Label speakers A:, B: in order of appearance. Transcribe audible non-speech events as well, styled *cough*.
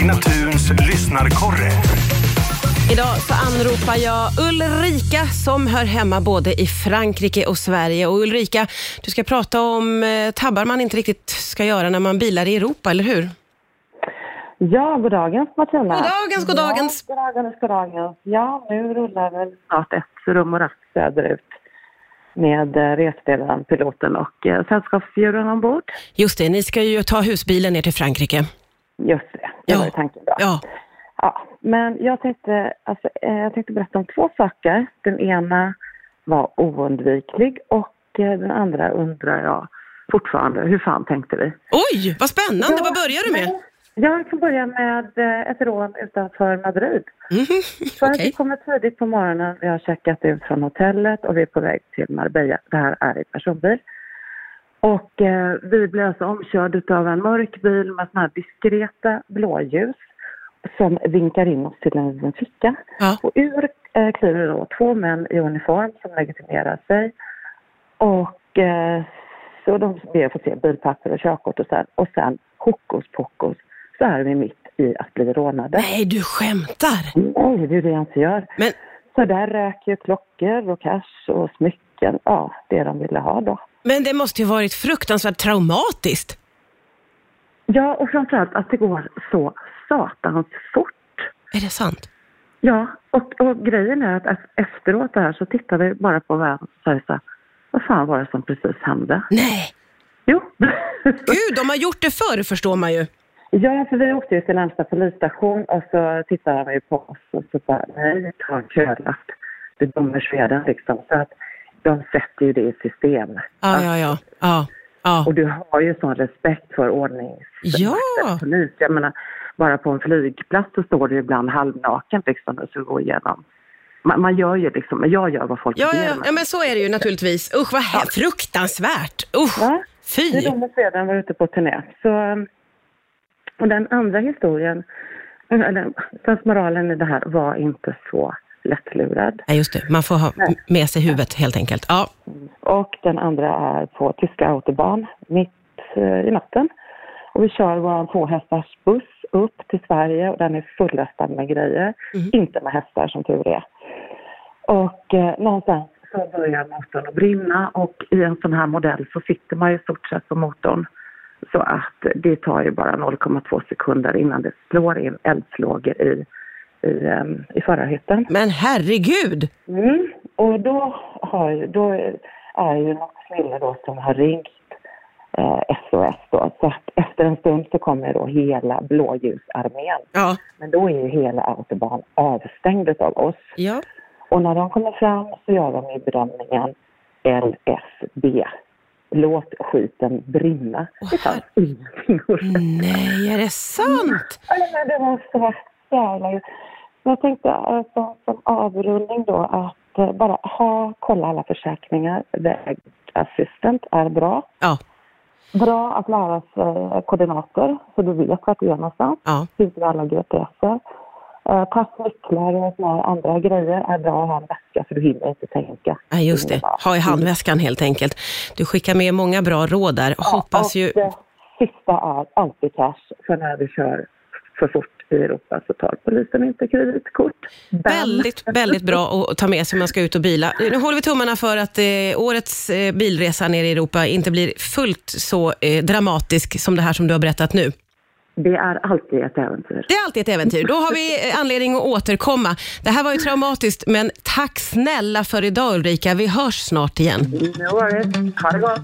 A: Riks lyssnarkorre.
B: Idag så anropar jag Ulrika som hör hemma både i Frankrike och Sverige. Och Ulrika, du ska prata om eh, tabbar man inte riktigt ska göra när man bilar i Europa, eller hur?
C: Ja, god dagens Martina.
B: God dagens, god dagens.
C: Ja, god dagens, god dagens. Ja, nu rullar väl snart ett rum och rack söderut med eh, resledaren, piloten och eh, sällskapsdjuren ombord.
B: Just det, ni ska ju ta husbilen ner till Frankrike.
C: Just det, det var ju tanken då.
B: Ja,
C: Ja, men jag tänkte, alltså, eh, jag tänkte berätta om två saker. Den ena var oundviklig och eh, den andra undrar jag fortfarande, hur fan tänkte vi?
B: Oj, vad spännande!
C: Ja,
B: Vad börjar du med?
C: men Jag kan börja med eh, ett rån utanför Madrid.
B: Mhm,
C: För att
B: okej.
C: vi kommer tidigt på morgonen, vi har checkat ut från hotellet och vi är på väg till Marbella. Det här är i personbil. Och eh, vi blir alltså omkörd av en mörk bil med sådana här diskreta blåljus som vinkar in oss till en liten ficka.
B: Ja.
C: Och ur eh, kliver då två män i uniform som legitimerar sig. Och eh, så de ber att få se bilpapper och körkort och sen, och sen hokus pokus så är vi mitt i att bli rånade.
B: Nej, du skämtar!
C: Nej, det är ju det jag inte gör.
B: Men
C: Så där rök ju klockor och cash och smycken. Ja, det de ville ha då.
B: Men det måste ju varit fruktansvärt traumatiskt.
C: Ja, och framförallt att det går så satans fort.
B: Är det sant?
C: Ja, och, och grejen är att e- efteråt det här så tittar vi bara på varandra och säger så här, vad fan var det som precis hände?
B: Nej!
C: Jo.
B: Gud, de har gjort det förr förstår man ju.
C: *laughs* ja, för vi åkte ju till närmsta polisstation och så tittade han ju på oss och så bara, nej, ta en kölapp. Det dömer Sweden liksom. Så att de sätter ju det i system.
B: Ja, ja, ja. ja, ja.
C: Och du har ju sån respekt för ordnings...
B: Ja.
C: polis. Jag menar, bara på en flygplats så står du ibland halvnaken liksom och så går igenom. Man, man gör ju liksom, men jag gör vad folk
B: Ja,
C: ber
B: ja,
C: mig.
B: ja, men så är det ju naturligtvis. Usch, vad he- fruktansvärt! Usch,
C: Va? Det
B: fy!
C: är de och Sweden var ute på turné. Så, um, och den andra historien, eller sensmoralen i det här var inte så lättlurad.
B: Nej, just det. Man får ha m- med sig huvudet helt enkelt. Ja,
C: Och den andra är på tyska autobahn mitt eh, i natten. Och vi kör vår tvåhästars buss upp till Sverige och den är fullastad med grejer. Inte med hästar som tur är. Och eh, någonstans så börjar motorn att brinna och i en sån här modell så sitter man ju i stort sett på motorn. Så att det tar ju bara 0,2 sekunder innan det slår in eldslågor i, i, em, i förarhytten.
B: men herregud!
C: Mm. Och då, har, ju- då är ju någon snille då som har ringt eh, SOS då. Så att efter en stund så kommer då hela blåljusarmén.
B: Ja,
C: Men då är ju hela autobahn avstängd av oss.
B: ja.
C: Och när de kommer fram så gör de ju bedömningen LSB. Låt skiten brinna. det fanns ingenting att säga.
B: Nej, är det sant?
C: Ja, men det var så jävla... Men Jag tänkte alltså, som avrundning då att eh, bara ha, kolla alla försäkringar. Vägassistent är bra.
B: Ja,
C: Bra att lära sig eh, koordinater så du vet vart du är någonstans.
B: ja.
C: Finns med alla GPSer. Eh, Pass, nycklar och såna här andra grejer är bra att ha i en väska för du hinner inte tänka.
B: Nej, just det. Ha i handväskan helt enkelt. Du skickar med många bra råd där. Hoppas
C: och
B: ju...
C: Det sista är alltid cash. För när du kör för fort i Europa så tar polisen inte kreditkort. Bam.
B: Väldigt, väldigt bra att ta med sig om man ska ut och bila. Nu håller vi tummarna för att eh, årets eh, bilresa ner i Europa inte blir fullt så eh, dramatisk som det här som du har berättat nu.
C: Det är alltid ett äventyr.
B: Det är alltid ett äventyr. Då har vi eh, anledning att återkomma. Det här var ju traumatiskt, men tack snälla för idag Ulrika. Vi hörs snart igen.
C: No worries. Ha det gott.